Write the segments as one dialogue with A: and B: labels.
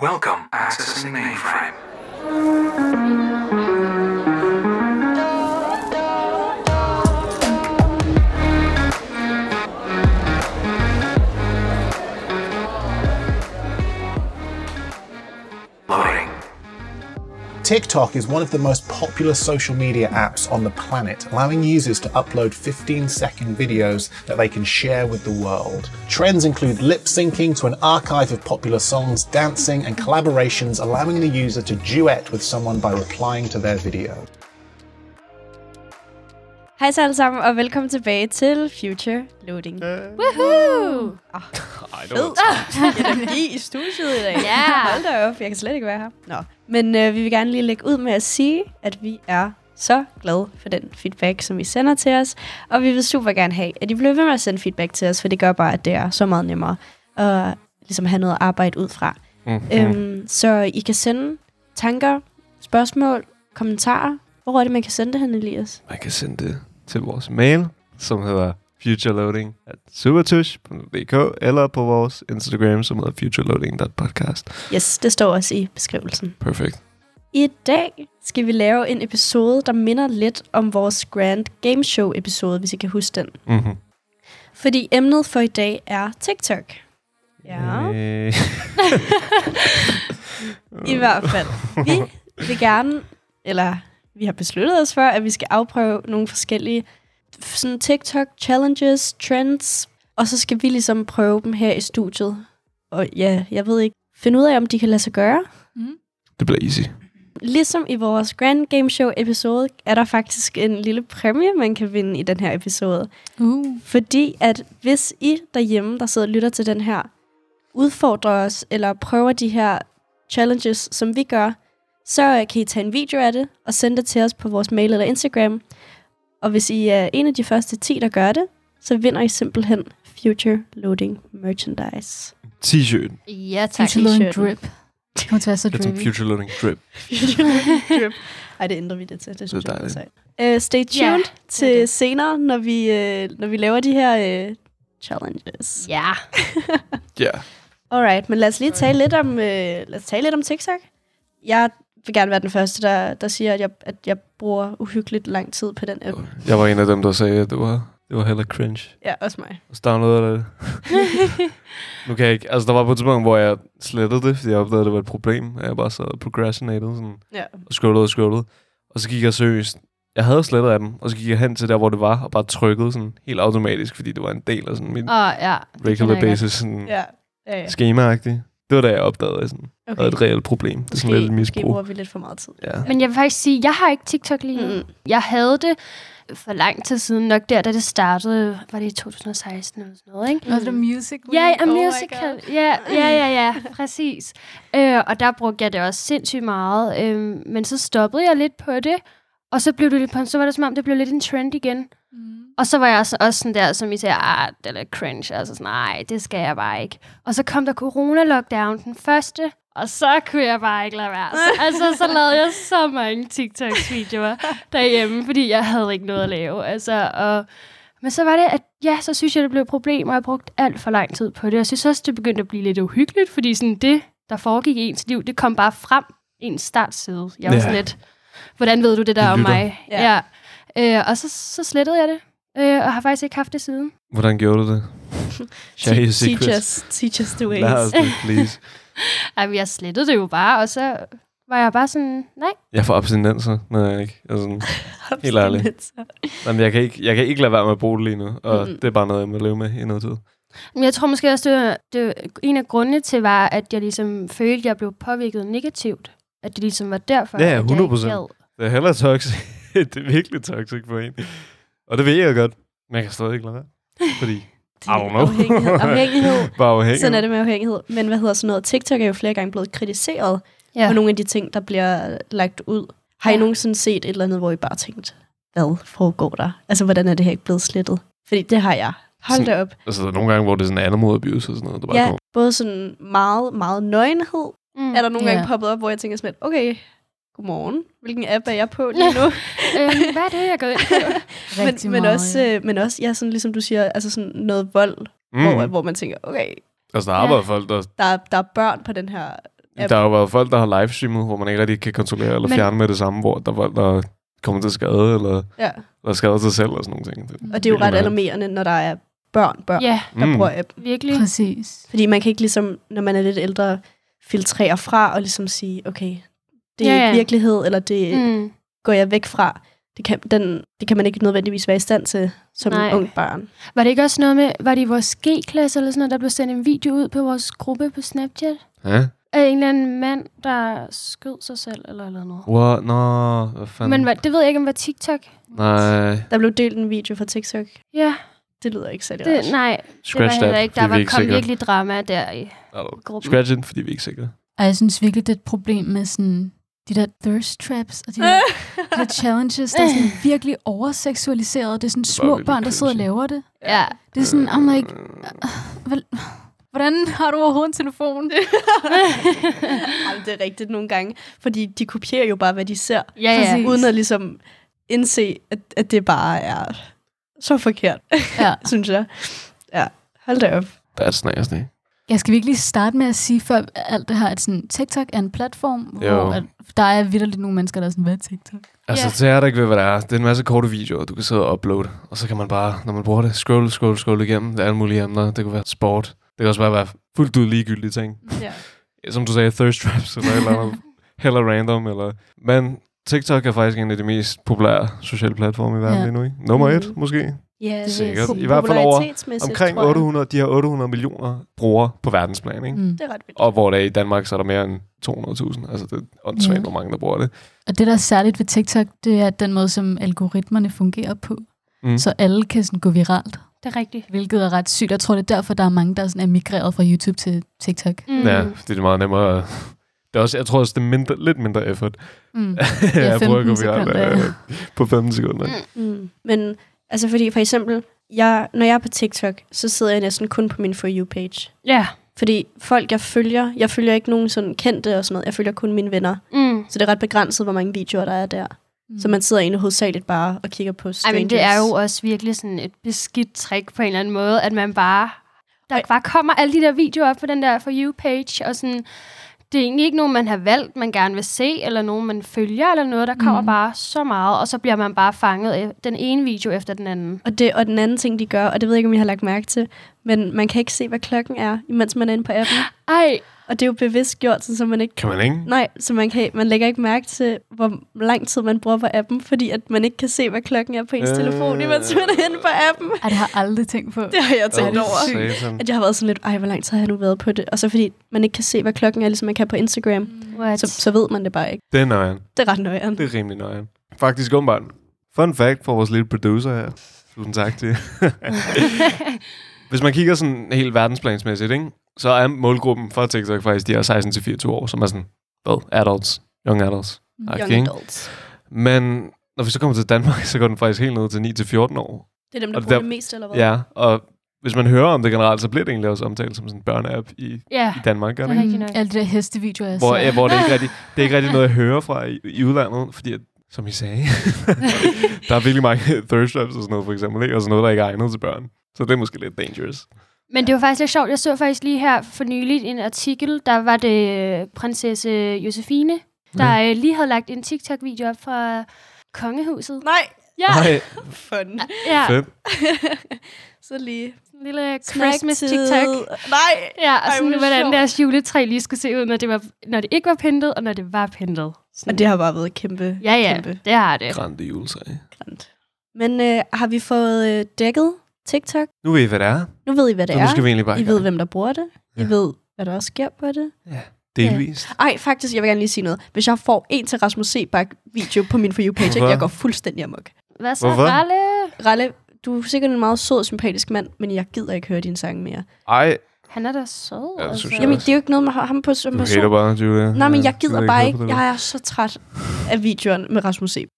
A: Welcome. Accessing mainframe. Loading.
B: TikTok is one of the most popular social media apps on the planet, allowing users to upload 15 second videos that they can share with the world. Trends include lip syncing to an archive of popular songs, dancing, and collaborations, allowing the user to duet with someone by replying to their video.
C: Hej så alle sammen, og velkommen tilbage til Future Loading.
D: Woohoo!
C: Ah.
E: Ej, det var
C: Energi i studiet i dag.
D: Ja.
C: Hold da op, jeg kan slet ikke være her. Nå. Men øh, vi vil gerne lige lægge ud med at sige, at vi er så glade for den feedback, som I sender til os. Og vi vil super gerne have, at I bliver ved med at sende feedback til os, for det gør bare, at det er så meget nemmere at ligesom have noget arbejde ud fra.
E: mm-hmm.
C: Øhm, så I kan sende tanker, spørgsmål, kommentarer. Hvor er det, man kan sende det hen, Elias?
E: Man kan sende det til vores mail, som hedder futureloading at supertush.dk eller på vores Instagram, som hedder futureloading.podcast.
C: Yes, det står også i beskrivelsen.
E: Perfekt.
C: I dag skal vi lave en episode, der minder lidt om vores Grand Game Show episode, hvis I kan huske den.
E: Mm-hmm.
C: Fordi emnet for i dag er TikTok. Ja,
E: Øh,
C: i hvert fald. Vi vil gerne, eller vi har besluttet os for, at vi skal afprøve nogle forskellige sådan TikTok-challenges, trends, og så skal vi ligesom prøve dem her i studiet. Og ja, jeg ved ikke, finde ud af, om de kan lade sig gøre.
E: det bliver easy.
C: Ligesom i vores Grand Game Show episode, er der faktisk en lille præmie, man kan vinde i den her episode.
D: Uh.
C: Fordi at hvis I derhjemme, der sidder og lytter til den her, udfordrer os eller prøver de her challenges, som vi gør, så øh, kan I tage en video af det og sende det til os på vores mail eller Instagram. Og hvis I er en af de første 10, der gør det, så vinder I simpelthen Future Loading Merchandise.
E: T-shirt.
D: Ja, tak.
C: Future Loading drip.
D: Det kommer til at være så
E: Det er som
D: drippy.
E: futureloading drip.
C: Ej, det ændrer vi det til. Det, synes
E: Det er
C: jeg er
E: dejligt.
C: sejt. Uh, stay tuned
D: Ja,
C: yeah,
D: det er
C: til
D: det.
C: senere, når vi, uh, når vi laver de her uh, challenges.
D: Ja.
E: Ja. Yeah.
C: Alright, men lad os lige tale lidt om, uh, lad os tale lidt om TikTok. Jeg vil gerne være den første, der, der siger, at jeg, at jeg bruger uhyggeligt lang tid på den app.
E: Jeg var en af dem, der sagde, at det var, det var heller cringe.
C: Ja, også mig.
E: Og så downloadede jeg det. nu kan jeg ikke. Altså, der var på et tidspunkt, hvor jeg slettede det, fordi jeg opdagede, at det var et problem. At jeg bare sad og procrastinated sådan
C: Ja.
E: og scrollede og scrollede. Og så gik jeg seriøst. Jeg havde slettet af dem, og så gik jeg hen til der, hvor det var, og bare trykkede sådan helt automatisk, fordi det var en del af sådan min
D: Åh, ja. det kender
E: regular
D: jeg godt.
E: basis sådan yeah.
C: Ja. Ja, ja.
E: schema-agtigt. Det var da jeg opdagede, at sådan, okay. havde et reelt problem. Det er sådan lidt et
C: måske, måske
E: misbrug.
C: bruger vi lidt for meget tid.
E: Ja.
D: Men jeg vil faktisk sige, jeg har ikke TikTok lige nu.
C: Mm.
D: Jeg havde det for lang tid siden, nok der, da det startede, var det i 2016 eller sådan noget, ikke?
F: Og the music
D: Ja,
F: Week.
D: yeah,
F: Oh my
D: musical.
F: God.
D: Ja, ja, ja, ja, præcis. Øh, og der brugte jeg det også sindssygt meget. Øh, men så stoppede jeg lidt på det, og så, blev det lidt, på- så var det som om, det blev lidt en trend igen.
F: Mm.
D: Og så var jeg også, også sådan der, som I sagde, ah, det er lidt cringe. Altså sådan, nej, det skal jeg bare ikke. Og så kom der corona-lockdown den første, og så kunne jeg bare ikke lade være. Så, altså, så lavede jeg så mange TikToks-videoer derhjemme, fordi jeg havde ikke noget at lave. Altså, og, men så var det, at ja, så synes jeg, det blev et problem, og jeg brugte alt for lang tid på det. Jeg synes også, det begyndte at blive lidt uhyggeligt, fordi sådan det, der foregik i ens liv, det kom bare frem i ens startside. Jeg var
E: Ja.
D: sådan lidt, hvordan ved du det der
E: Jeg
D: om
E: lytter.
D: mig?
C: Ja.
D: Ja. ja. Øh, og så, så slettede jeg det, øh, og har faktisk ikke haft det siden.
E: Hvordan gjorde du det? Share your
C: Te- teach
E: secrets.
C: us, teach us the
E: Lad
C: ways.
E: os det, please.
D: Ej, men jeg slettede det jo bare, og så var jeg bare sådan, nej.
E: Jeg får abstinenser, når jeg ikke. Altså, sådan, Helt ærligt. jamen, jeg, kan ikke, jeg kan ikke lade være med at bruge det lige nu, og
C: Mm.
E: mm. det er bare noget, jeg må leve med i noget tid.
D: Men jeg tror måske også, det, var, det var, en af grundene til var, at jeg ligesom følte, at jeg blev påvirket negativt. At det ligesom var derfor,
E: Ja, ja,
D: at jeg ikke
E: 100%.
D: gad.
E: Det er heller toxic. det er virkelig toxic for en. Og det ved jeg godt. Men jeg kan stadig ikke lade være. Fordi
C: Det er
E: I don't know.
C: Afhængighed. afhængighed.
E: bare afhængig.
C: Sådan er det med afhængighed. Men hvad hedder sådan noget? TikTok er jo flere gange blevet kritiseret ja.
D: Ja.
C: for nogle af de ting, der bliver lagt ud. Har ja. I
D: Ja.
C: nogensinde set et eller andet, hvor I bare tænkte, hvad foregår der? Altså, hvordan er det her ikke blevet slettet? Fordi det har jeg. Hold da op.
E: Altså, der er nogle gange, hvor det er sådan animal abuse og sådan noget. Der bare
C: Ja,
E: kommer.
C: både sådan meget, meget nøgenhed
D: Mm.
C: er der nogle gange
D: Ja.
C: poppet op, hvor jeg tænker sådan lidt, okay, godmorgen. Hvilken app er jeg på lige nu?
D: øhm, hvad er det, jeg går ind på?
F: Rigtig
C: men, men,
F: meget,
C: også,
F: ja.
C: øh, men også, ja, sådan, ligesom du siger, altså sådan noget vold, mm. hvor,
E: Mm.
C: hvor man tænker, okay,
E: Altså, der arbejder folk, der...
C: der er, der er børn på den her Yep.
E: Der har jo været folk, der har livestreamet, hvor man ikke rigtig kan kontrollere eller
D: Men-
E: fjerne med det samme, hvor der er folk, der kommer til skade, eller,
C: Ja.
E: eller skader sig selv, og sådan nogle ting.
C: øh, Og det er jo
E: Vildt
C: ret
E: meget.
C: alarmerende, når der er børn, børn
D: Mm. Ja,
C: der mm. bruger appen.
D: virkelig.
F: Præcis.
C: Fordi man kan ikke ligesom, når man er lidt ældre, filtrere fra og ligesom sige, okay, det er
D: Ja,
C: ja,
D: ja.
C: ikke virkelighed, eller det mm.
D: Mm.
C: går jeg væk fra. Det kan, den, det kan man ikke nødvendigvis være i stand til som
D: Nej.
C: Nej. ung barn.
D: Var det ikke også noget med, var det i vores G-klasse eller sådan noget, der blev sendt en video ud på vores gruppe på Snapchat?
E: Ja?
D: Af en eller anden mand, der skød sig selv eller eller noget.
E: What? Nå, hvad fanden?
D: Men hvad, det ved jeg ikke, om det var TikTok.
E: Nej,
C: Der blev delt en video fra TikTok.
D: Ja,
C: Det lyder ikke særlig
D: det,
C: det,
D: nej, det var
E: scratch
D: heller
E: that,
D: ikke. Der
E: fordi vi
D: var,
E: er ikke
D: kom
E: sikre.
D: virkelig drama der i
E: Eller,
D: gruppen.
E: Scratch it, fordi vi er ikke sikre.
F: Og jeg synes virkelig, det er et problem med sådan de der thirst traps og de der, de der challenges, der er sådan virkelig overseksualiseret. Det er sådan
E: Det er bare
F: små
E: virkelig
F: børn, der sidder og
E: crazy.
F: laver det.
D: Ja,
F: Det er sådan, I'm like, "Ah,
E: Øh,
F: hvordan har du overhovedet en telefon?
C: Jamen, det er rigtigt nogle gange, fordi de kopierer jo bare, hvad de ser,
D: ja, ja.
F: Præcis.
C: uden at ligesom indse, at, at det bare er så forkert,
F: ja.
C: synes jeg. Ja, hold da op.
E: That's nasty.
F: Jeg skal virkelig starte med at sige før alt det her, at sådan, TikTok er en platform,
E: Jo.
F: hvor at, der er vildt nogle mennesker, der er sådan, hvad er TikTok?
E: Altså,
D: Ja.
E: yeah. det er der ikke ved, hvad der er. Det er en masse korte videoer, du kan sidde og uploade. Og så kan man bare, når man bruger det, scroll, scroll, scroll igennem. Det er alle mulige emner. Det kunne være sport. Det kan også bare være fuldt ud ligegyldige ting.
C: Ja.
E: Som du sagde, thirst traps eller et eller andet. Heller random. Eller... Men TikTok er faktisk en af de mest populære sociale platforme i verden
F: Ja. Mm.
E: yeah. lige nu. Ikke? Nummer et,
C: Mhm.
E: måske.
D: Ja, det
E: Sikkert.
D: er-
E: I hvert fald over
C: Popularitetsmæssigt,
E: Omkring
C: tror jeg.
E: 800, de har 800 millioner brugere på verdensplan. Ikke?
F: Mm.
C: Det er ret vildt.
E: Og hvor det er i Danmark, så er der mere end 200.000. Altså, det er åndssvagt,
F: Ja.
E: hvor mange, der bruger det.
F: Og det, der er særligt ved TikTok, det er den måde, som algoritmerne fungerer på.
E: Mm.
F: Så alle kan sådan gå viralt,
D: Det er rigtigt.
F: hvilket er ret sygt. Jeg tror, det er derfor, der er mange, der sådan er migreret fra YouTube til TikTok.
D: Mm.
E: Ja, fordi det er meget nemmere. at- Det er også, jeg tror også, det er mindre, lidt mindre effort.
F: Mm.
E: Ja,
F: er
E: jeg prøver at
F: 15
E: gå viralt
F: sekunder,
E: øh, på 15 sekunder.
D: Mm.
C: Mm. Men altså fordi for eksempel, jeg, når jeg er på TikTok, så sidder jeg næsten kun på min For You-page.
D: Ja.
C: Fordi folk, jeg følger, jeg følger ikke nogen sådan kendte og sådan noget. Jeg følger kun mine venner.
D: Mm.
C: Så det er ret begrænset, hvor mange videoer, der er der. Mm. Så man sidder egentlig hovedsageligt bare og kigger på
D: Ej,
C: strangers.
D: men det er jo også virkelig sådan et beskidt trick på en eller anden måde, at man bare... Der
C: Ej.
D: bare kommer alle de der videoer op på den der For You-page, og sådan... Det er egentlig ikke nogen, man har valgt, man gerne vil se, eller nogen, man følger, eller noget. Der kommer mm.
F: Mm.
D: bare så meget, og så bliver man bare fanget af den ene video efter den anden.
C: Og, det, og den anden ting, de gør, og det ved jeg ikke, om jeg har lagt mærke til, men man kan ikke se, hvad klokken er, imens man er inde på appen.
D: Ej,
C: Og det er jo bevidst gjort, så så man ikke...
E: Kan man ikke?
C: Nej, så man, kan, man lægger ikke mærke til, hvor lang tid man bruger på appen, fordi at man ikke kan se, hvad klokken er på ens
E: Øh.
C: øh. telefon, imens man er inde på appen.
F: Ej, det har jeg aldrig tænkt på.
C: Det har jeg tænkt
E: Åh,
C: over.
E: satan.
C: At jeg har været sådan lidt, ej, hvor lang tid har jeg nu været på det? Og så fordi man ikke kan se, hvad klokken er, ligesom man kan på Instagram,
D: what?
C: så, så ved man det bare ikke.
E: Det er nøjeren.
C: Det er ret nøjeren.
E: Det er rimelig nøjeren. Faktisk åbenbart. Fun fact for vores lille producer her. Tusind tak til. Hvis man kigger sådan helt verdensplansmæssigt, ikke? så er målgruppen for TikTok faktisk de her 16-24 år, som er sådan, hvad? Adults. Young adults.
F: Mm.
E: Okay,
C: Young
E: ikke?
C: adults.
E: Men når vi så kommer til Danmark, så går den faktisk helt ned til 9-14 år.
C: Det er dem, der
E: Og
C: bruger
E: der-
C: det mest, eller hvad?
E: Ja, og hvis man hører om det generelt, så bliver det egentlig også omtalt som sådan en børneapp i,
D: Ja,
E: i Danmark, gør det ikke?
D: Det er rigtigt
F: Mm.
D: nok.
F: Alle de der hestevideoer, jeg
C: Altså,
E: Hvor,
F: ser.
E: ja, hvor det, ikke rigtig, det er ikke rigtig noget, jeg hører fra i, i udlandet, fordi at, som I sagde, der er virkelig mange thirst traps og sådan noget, for eksempel, ikke? og sådan noget, der ikke er egnet til børn. Så det er måske lidt dangerous.
D: Men det var faktisk lidt sjovt. Jeg så faktisk lige her for nylig en artikel, der var det øh, prinsesse Josefine, der
E: Mm.
D: øh, lige havde lagt en TikTok-video op fra kongehuset.
C: Nej,
D: Ja,
E: Nej,
C: fun.
D: ja.
E: fedt.
C: Så lige.
D: En lille Christmas
C: Snack-tid.
D: TikTok.
C: Nej.
D: Ja, og
C: Ej, hvor
D: sådan,
C: er det
D: hvordan
C: sjovt.
D: deres juletræ lige skulle se ud, når det, var, når det ikke var pyntet, og når det var pyntet. Sådan.
C: Og det har bare været kæmpe,
D: ja, ja,
C: kæmpe
D: det har det.
E: Grandiose.
C: grant. Men øh, har vi fået øh, dækket TikTok?
E: Nu ved I, hvad det er.
C: Nu ved I, hvad det
E: Så
C: er.
E: nu skal vi egentlig bare
C: I
E: i
C: ved,
E: gang.
C: hvem der bruger det. I
E: Ja.
C: ved, hvad der også sker på det.
E: Delvist.
C: Ej, faktisk, jeg vil gerne lige sige noget. Hvis jeg får en til Rasmus Sebak-video på min For You-page,
E: Hvorfor?
C: jeg går fuldstændig amok.
D: Hvad så,
E: Hvorfor?
D: Ralle?
C: Ralle, du er sikkert en meget sød og sympatisk mand, men jeg gider ikke høre dine sange mere.
E: Ej,
D: Han er da sød. altså.
E: Ja, det synes jeg
C: Jamen,
E: også.
C: det er jo ikke noget med ham på som
E: du hater
C: person.
E: bare, Julia.
C: Nej, men jeg
E: ved
C: gider bare
E: høre
C: ikke.
E: på det der.
C: Jeg er så træt af videoen med Rasmus Sebak.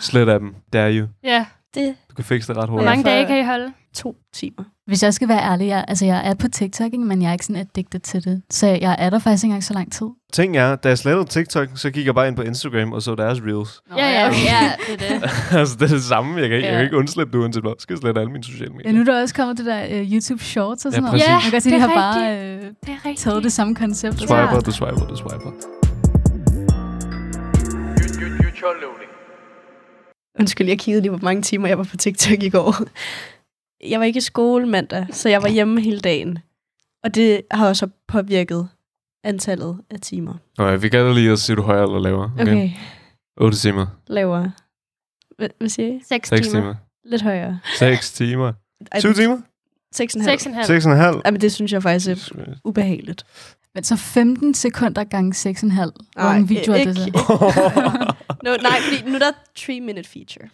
E: Slet af dem. Det er jo.
D: Ja.
C: Det
E: Du kan fikse det ret
D: Hvor
E: hurtigt.
D: mange
C: for-
D: dage kan I holde?
C: To timer.
F: Hvis jeg skal være ærlig, jeg, altså jeg er på TikTok, ikke? men jeg er ikke sådan addicted til det. Så jeg er der faktisk ikke engang så lang tid.
E: Ting er, da jeg slettede TikTok, så gik jeg bare ind på Instagram og så deres reels.
D: Ja, ja, ja, det er det.
E: altså, det er det samme. Jeg kan, jeg
D: Ja.
E: kan ikke undslippe det uanset hvad. Så skal jeg slette alle mine sociale medier.
F: Ja, nu er der også kommet det der uh, YouTube Shorts og sådan
E: Ja,
F: noget.
E: præcis.
F: Man kan godt se,
D: det
F: de
D: er
F: har bare uh,
D: Det er rigtigt.
F: taget det samme koncept.
E: Du
F: og så-
E: swiper, du swiper, du swiper.
C: Undskyld, jeg kiggede lige, hvor mange timer jeg var på TikTok i går. Jeg var ikke i skole mandag, så jeg var hjemme hele dagen. Og det har også påvirket antallet af timer.
E: Nå, vi gælder lige at se, du højere eller lavere.
C: Okay,
E: 8 timer.
C: lavere. Hvad, hvad siger I?
D: 6
E: 6
D: timer.
E: timer.
C: Lidt højere.
E: 6 timer. 7 timer?
C: 6,5.
D: 6,5.
E: 6,5?
C: Ej, men det synes jeg faktisk er ubehageligt.
F: Men så 15 sekunder gange 6,5. Hvor en video er det så?
C: no, nej, fordi nu er der 3-minute feature.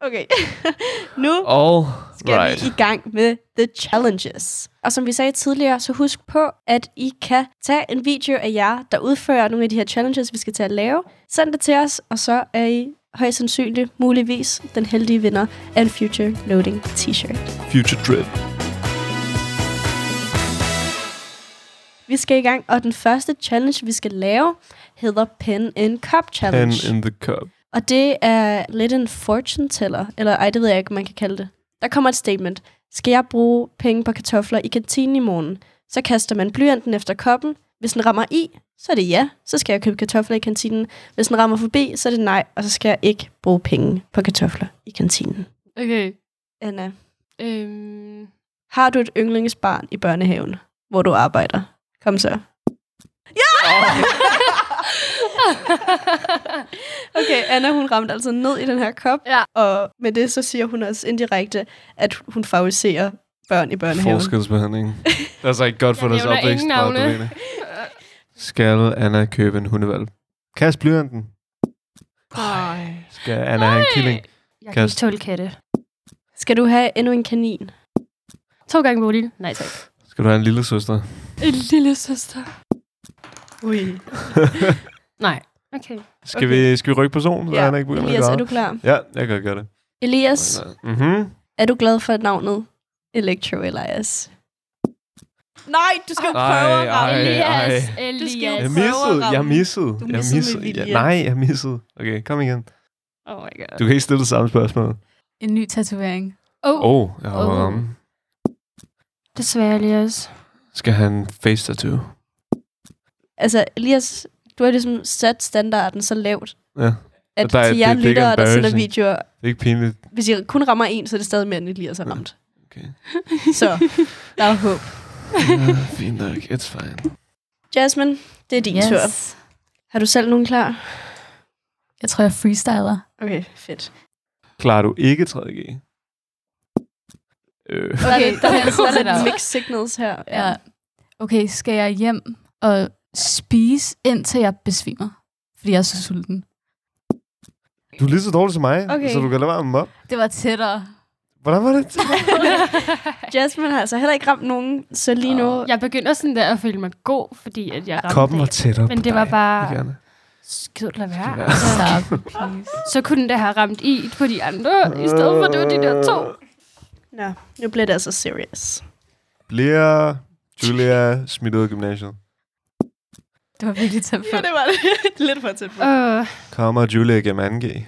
C: Okay, nu
E: All
C: skal right. vi
E: right.
C: i gang med The Challenges. Og som vi sagde tidligere, så husk på, at I kan tage en video af jer, der udfører nogle af de her challenges, vi skal til at lave. Send det til os, og så er I højst sandsynligt muligvis den heldige vinder af en Future Loading t-shirt.
E: Future Drip.
C: Vi skal i gang, og den første challenge, vi skal lave, hedder Pen and Cup
E: Pen
C: Challenge.
E: in the cup.
C: Og det er lidt en fortune teller, eller ej, det ved jeg ikke, man kan kalde det. Der kommer et statement. Skal jeg bruge penge på kartofler i kantinen i morgen? Så kaster man blyanten efter koppen. Hvis den rammer i, så er det ja. Så skal jeg købe kartofler i kantinen. Hvis den rammer forbi, så er det nej. Og så skal jeg ikke bruge penge på kartofler i kantinen.
D: Okay.
C: Anna,
D: Øhm,
C: har du et yndlingsbarn i børnehaven, hvor du arbejder? Kom så. Ja! Okay, Anna hun ramte altså ned i den her kop,
D: Ja.
C: og med det så siger hun også indirekte, at hun favoriserer børn i børnehaven.
E: Forskelsbehandling. Altså ikke godt for
D: Jeg
E: deres
D: nævner
E: opvækst.
D: ingen
E: Maja
D: navne.
E: Dorene. Skal Anna købe en hundevalg? Kast blyanten.
C: Ej.
E: Skal Anna have en killing?
D: jeg kan
E: Kast.
D: ikke tåle katte.
C: Skal du have endnu en kanin?
D: To gange Bodil. Nej, tak.
E: Skal du have en lille søster?
D: En lille søster.
C: Ui.
D: Nej. Okay.
E: Skal,
C: Okay.
E: vi, skal vi rykke personen, så ja. Anna ikke begynder
C: Elias, er
E: at
C: du
E: gøre?
C: klar?
E: Ja, jeg kan godt gøre det.
C: Elias,
E: Mhm.
C: er du glad for navnet Electro Elias? Nej, du skal jo
E: Ej,
C: prøve at ramme
E: ej,
D: Elias.
E: ej.
D: Elias.
C: Du skal jo-
E: Jeg missede, jeg missede.
C: Du
E: jeg
C: missede med
E: Ja,
C: vilje.
E: nej, jeg missede. Okay, kom igen.
D: Oh my god.
E: Du kan ikke stille det samme spørgsmål.
F: En ny tatovering.
D: Oh.
E: Åh, oh, jeg har
D: Oh.
E: oh. ramme.
D: Desværre, Elias.
E: Skal han face tattoo?
C: Altså, Elias, du har ligesom sat standarden så lavt,
E: Ja.
C: at
E: Der
C: der,
E: er-
C: til
E: det- det er
C: jer
E: ikke
C: lyttere, der sender
E: embarrassing.
C: videoer,
E: Det er ikke pinligt.
C: hvis I kun rammer en, så er det stadig mere, end Elias har
E: Ja.
C: ramt.
E: Okay.
C: Så, der er håb.
E: Ja, fint nok. It's fine.
C: Jasmine, det er din yes. tur. Har du selv nogen klar?
F: Jeg tror, jeg freestyler.
C: Okay, fedt.
E: Klarer du ikke 3G? Øh,
C: Okay, der er lidt, der er lidt, der er
F: Setup.
C: lidt mixed signals her.
F: Ja. Okay, skal jeg hjem og spise, indtil jeg besvimer? Fordi jeg er så sulten.
E: du er lige så dårlig som mig,
C: Okay.
E: okay. så du kan lade være med mig.
F: Det var tættere.
E: Hvordan var det?
C: Jasmine har altså heller ikke ramt nogen, så lige nu...
D: jeg begynder sådan der at føle mig god, fordi at jeg ramte
E: Koppen var
D: det.
E: tættere
D: Men
E: på
D: det var
E: dig.
D: bare-
E: Ikke, Anna?
D: Skid, lad
E: Skid, lad
D: være.
E: være.
D: Altså,
F: Stop, please.
D: så kunne den da have ramt i på de andre, i stedet for at det var de der to.
C: Nå, nu bliver det altså serious.
E: Bliver Julia smidt ud af gymnasiet?
F: Det var virkelig tæt på.
C: var det. lidt for
E: Øh.
C: tæt på.
D: Uh,
E: Kommer Julia igennem 2G?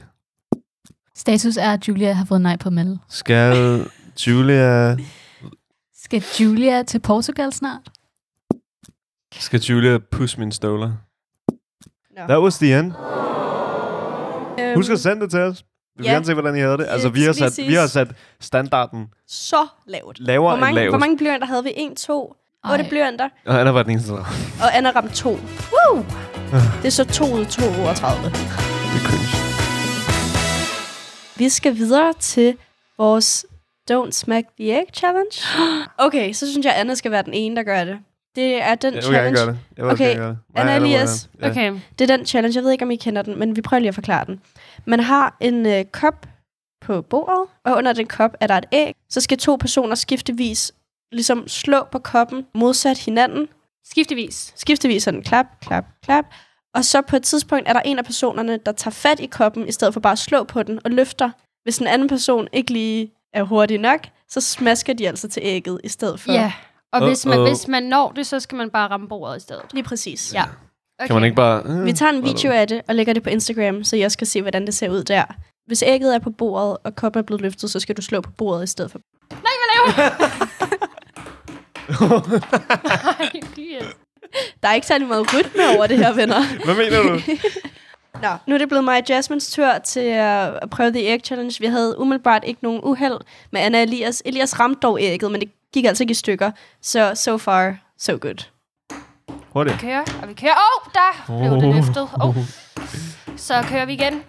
F: Status er, at Julia har fået nej på Mel.
E: Skal Julia...
F: Skal Julia til Portugal snart?
E: Skal Julia pusse mine støvler?
C: Nå.
E: That was the end.
C: Øhm,
E: Husk at sende det til os. Vi vil
C: ja.
E: gerne se, hvordan I havde det. Altså,
C: Øh,
E: vi har
C: lige
E: sat, vi har sat standarden
C: Så lavt.
E: lavere
C: Hvor
E: end
C: mange,
E: lavest.
C: hvor mange blyanter havde vi? 1, 2, 8 blyanter,
E: Og Anna var den eneste, der ramte.
C: og Anna ramte 2. Woo! Det er så 2 ud af 2 over 30.
E: Det er cringe.
C: Vi skal videre til vores Don't Smack the Egg Challenge. Okay, så synes jeg, Anna skal være den ene, der gør det. Det er den
E: Jeg vil gerne
C: challenge.
E: gøre det. Jeg vil også
C: Okay,
E: gerne gøre det.
C: Anna
E: Mig og må
C: Elias.
E: gerne. Ja.
D: okay.
C: Det er den challenge, jeg ved ikke, om I kender den, men vi prøver lige at forklare den. Man har en øh, kop på bordet, og under den kop er der et æg. Så skal to personer skiftevis ligesom slå på koppen modsat hinanden.
D: Skiftevis.
C: Skiftevis sådan klap, klap, klap. Og så på et tidspunkt er der en af personerne, der tager fat i koppen, i stedet for bare at slå på den og løfter. Hvis den anden person ikke lige er hurtige nok, så smasker de altså til ægget i stedet for.
D: Ja, og hvis man,
E: Uh-oh.
D: hvis man når det, så skal man bare ramme bordet i stedet.
C: Lige præcis.
D: Ja.
E: Okay. Kan man ikke bare... Øh,
C: Vi tager en
E: hvad
C: video
E: er
C: af det og lægger det på Instagram, så jeg også kan se, hvordan det ser ud der. Hvis ægget er på bordet, og koppen er blevet løftet, så skal du slå på bordet i stedet for.
D: Nej, hvad laver du? Nej, yes.
C: Der er ikke særlig meget rytme over det her, venner.
E: det? Hvad mener du?
C: Nå, nu er det blevet mig og Jasmines tur til øh, at prøve The Egg Challenge. Vi havde umiddelbart ikke nogen uheld med Anna og Elias. Elias ramte dog ægget, men det gik altså ikke i stykker. Så so far, so good.
E: Hurtigt.
D: Kører, og vi kører. Åh, oh, der blev det løftet. Oh.
E: Uh-huh.
D: Så kører vi igen.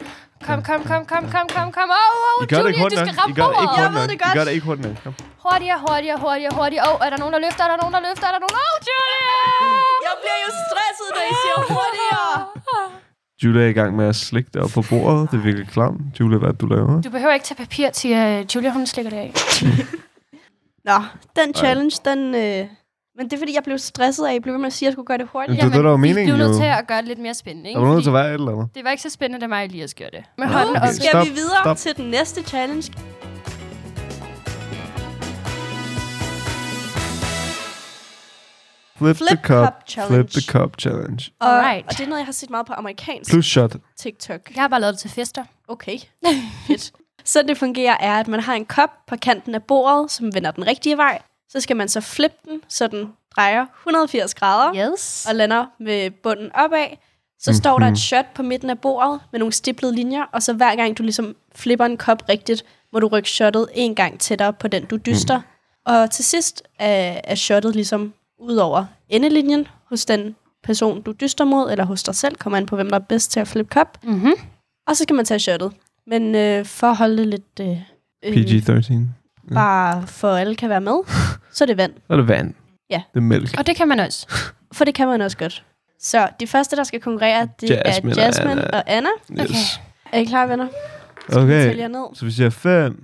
D: Kom, kom, kom, kom, kom, kom, kom. Åh, oh, oh,
E: I gør det
D: Julie,
E: ikke
D: du
E: hurtigt nok.
D: skal ramme
E: I gør det ikke
D: bordet.
C: Jeg ved det
E: hurtigt nok. I
C: godt.
E: gør det ikke hurtigt nok. Kom.
D: Hurtigere, hurtigere, hurtigere, hurtigere. Åh, oh, er der nogen, der løfter? Er der nogen, der løfter? Er der nogen? Åh, oh, Julie!
C: Jeg bliver jo stresset, når I siger hurtigere.
E: Julia er i gang med at slikke det op på bordet. Det er virkelig klamt. Julia, hvad er det, du laver?
D: Du behøver ikke tage papir til, uh, Julia, hun slikker det af.
C: Nå, den challenge, den... Øh, men det er, fordi jeg blev stresset af, at I blev ved med at sige, at jeg skulle gøre det hurtigt.
E: det er det, der var
D: Vi
E: meningen,
D: blev nødt
E: jo.
D: til at gøre det lidt mere spændende,
E: Der
D: ikke?
E: var noget til
D: Fordi
E: at være et eller andet.
D: det var ikke så spændende, da mig lige at gøre det. Men
E: Nå,
D: hånden
E: okay.
D: op.
C: Skal
E: Stop,
C: vi videre
E: stop.
C: til den næste challenge?
E: Flip,
C: Flip
E: the cup,
C: cup challenge.
E: Flip the cup challenge.
C: Og,
D: Alright.
C: og det er noget, jeg har set meget på amerikansk
E: Plus shot.
C: TikTok.
D: Jeg har bare lavet det til fester.
C: Okay. Fedt. Så det fungerer er, at man har en kop på kanten af bordet, som vender den rigtige vej. Så skal man så flippe den, så den drejer 180 grader
D: Yes.
C: og lander med bunden opad. Så står der et shot på midten af bordet med nogle stiplede linjer, og så hver gang du ligesom flipper en kop rigtigt, må du rykke shottet en gang tættere på den, du dyster. Og til sidst er, er shottet ligesom ud over endelinjen hos den person, du dyster mod, eller hos dig selv, kommer an på, hvem der er bedst til at flippe kop.
D: Mm-hmm.
C: Og så skal man tage shottet. Men øh, for at holde det lidt... Øh, øh,
E: PG-13.
C: Bare for at alle kan være med, så er det vand.
E: Så er det vand.
C: Ja.
E: Det er mælk.
D: Og det kan man også.
C: For det kan man også godt. Så de første, der skal konkurrere, det
E: Jasmine
C: Jasmine
E: og
C: er Jasmine
E: Anna.
C: og Anna.
E: Yes.
C: Er I klar, venner?
E: Okay.
C: Vi tæller
E: okay.
C: ned.
E: Så vi siger 5,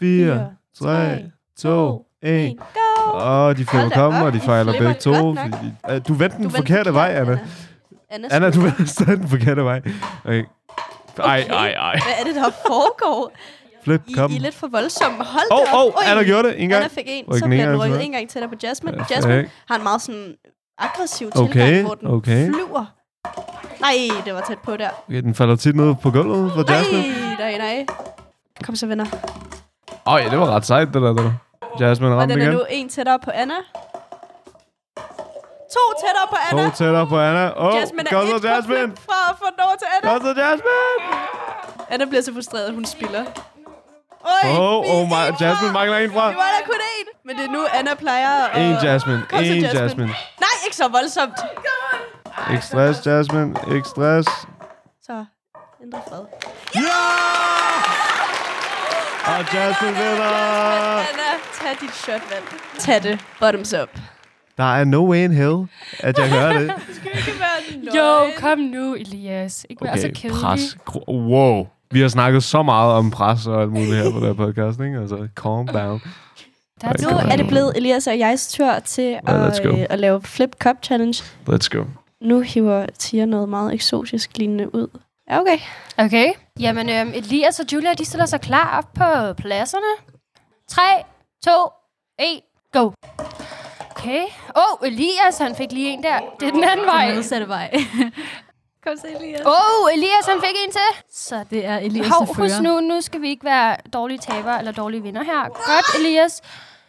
E: 4, 3, 2, 1.
C: Go!
E: Åh, de
C: Hold
E: flipper
C: da
E: kommen,
C: op,
E: og de
C: hun
E: fejler
C: flipper
E: begge to.
C: godt nok.
E: fordi- Øh, Du vendte den
C: vendte
E: forkerte vej,
C: forkert,
E: Anna.
C: Anna,
E: Anna, du
C: skulle-
E: vendte stadig den forkerte vej. Okay. Ej, ej, ej.
C: Hvad er det, der foregår?
E: Flip,
C: I,
E: kom.
C: I er lidt for voldsomme. Hold
E: Åh,
C: da op.
E: åh,
C: Oj.
E: Anna gjorde det en gang.
C: Anna fik en,
E: Ryk
C: så
E: den
C: bliver
E: ene
C: den
E: gang
C: rykket
E: tilbage.
C: en gang tættere på Jasmine.
E: Perfekt.
C: Jasmine har en meget sådan aggressiv tilgang,
E: Okay,
C: hvor den
E: okay.
C: flyver. Nej, det var tæt på der.
E: Okay, den falder tit ned på gulvet for Jasmine.
C: Nej, nej, nej. Kom så, venner.
E: Åh, oh, ja, det var ret sejt, det der. Det der. Jasmine
C: Og
E: ramte
C: den er
E: igen.
C: nu en tættere på Anna. To tættere på Anna.
E: To tættere på Anna. Åh, oh,
C: Jasmine er
E: godt
C: et
E: så Jasmine.
C: punkt fra at få den over til Anna.
E: Godt så Jasmine.
C: Anna bliver så frustreret, at hun spiller. Oj,
E: Åh,
C: vi er
E: oh my,
C: en fra.
E: Jasmine mangler en fra.
C: Vi var der kun én. Men det er nu, Anna plejer at...
E: En Jasmine,
C: Kom så,
E: en
C: Jasmine.
E: Jasmine.
C: Nej, ikke så voldsomt.
E: Ikke stress, Jasmine. Ikke stress.
C: Så, indre fred.
E: Ja! Og Jasmine vinder.
C: Anna, tag dit shot, mand. Tag det. Bottoms up.
E: Der er no way in hell, at jeg gør det.
D: Jo, kom nu, Elias. Ikke være så
E: Okay,
D: kedelig.
E: pres. Gro- Wow. Vi har snakket så meget om pres og alt muligt her på den her podcast, ikke? Altså, calm down.
D: Der
E: Ej,
D: er
C: Nu
D: tid.
E: kom
C: er det blevet Elias og jegs tur til
E: let's
C: at,
E: go.
C: øh, at lave Flip Cup Challenge.
E: Let's go.
C: Nu hiver Tia noget meget eksotisk lignende ud. Ja, okay.
D: Okay. Jamen, øhm, Elias og Julia, de stiller sig klar op på pladserne. 3, 2, 1, go. Okay. Åh, oh, Elias, han fik lige en der. Det er den anden vej.
F: Den modsatte vej.
C: Kom så, Elias.
D: Åh, oh, Elias, han fik en til. Så
F: Det er Elias,
D: Hov,
F: der
D: husk
F: fører.
D: nu, nu skal vi ikke være dårlige tabere eller dårlige vinder her. Godt, Elias.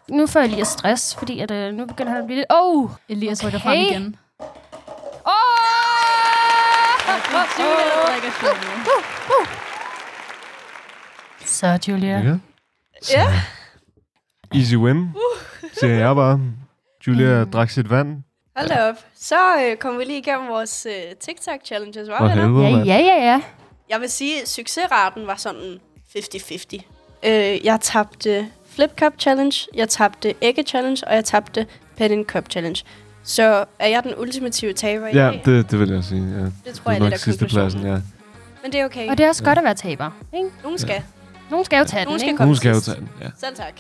D: Nu får Elias stress, fordi at, øh, nu begynder han at blive lidt... Åh! Oh.
F: Elias rykker frem
D: Okay.
F: igen.
D: Åh!
F: Julia
D: Oh!
F: drikker chili.
D: Så, Julia.
E: Ja.
C: Ja. Uh.
E: Easy win, siger jeg bare. Julia
C: Mm.
E: drak sit vand.
C: Hold da op. Så øh, kom vi lige igennem vores øh, TikTok-challenges, var
E: Og
C: venner?
E: helvede,
D: Ja,
E: mand.
D: ja, ja, ja.
C: Jeg vil sige, at succesraten var sådan 50-50. Øh, jeg tabte Flip Cup Challenge, jeg tabte Ægge Challenge, og jeg tabte Pen and Cup Challenge. Så er jeg den ultimative taber i
E: Ja,
C: dag?
E: det, det vil jeg sige. Ja.
C: det tror
E: Det er
C: jeg, det
E: nok
C: er
E: sidste pladsen,
C: konklusionen.
E: ja.
C: Men det er okay.
D: Og det er også godt at være taber. Ikke?
C: Nogen skal.
D: Nogen skal jo tage
C: Nogen
D: den,
C: skal
D: ikke?
C: komme
E: Nu skal jeg jo
C: sidst.
E: tage den. Ja.
C: Selv tak.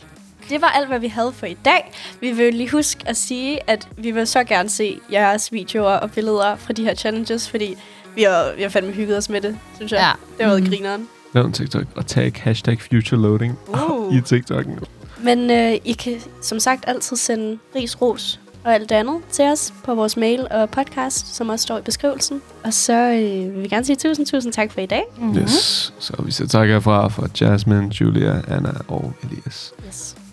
C: Det var alt, hvad vi havde for i dag. Vi vil lige huske at sige, at vi vil så gerne se jeres videoer og billeder fra de her challenges, fordi vi har, vi har fandme hygget os med det, synes jeg.
D: Ja.
C: Det har været grineren.
E: Lav en TikTok og tag hashtag future loading.
C: Uh.
E: i TikTok'en.
C: Men øh, I kan som sagt altid sende ris, ros og alt det andet til os på vores mail og podcast, som også står i beskrivelsen. Og så øh, vil vi gerne sige tusind, tusind tak for i dag.
D: Mhm.
E: Yes. Så vi siger tak herfra for Jasmine, Julia, Anna og Elias.
C: Yes.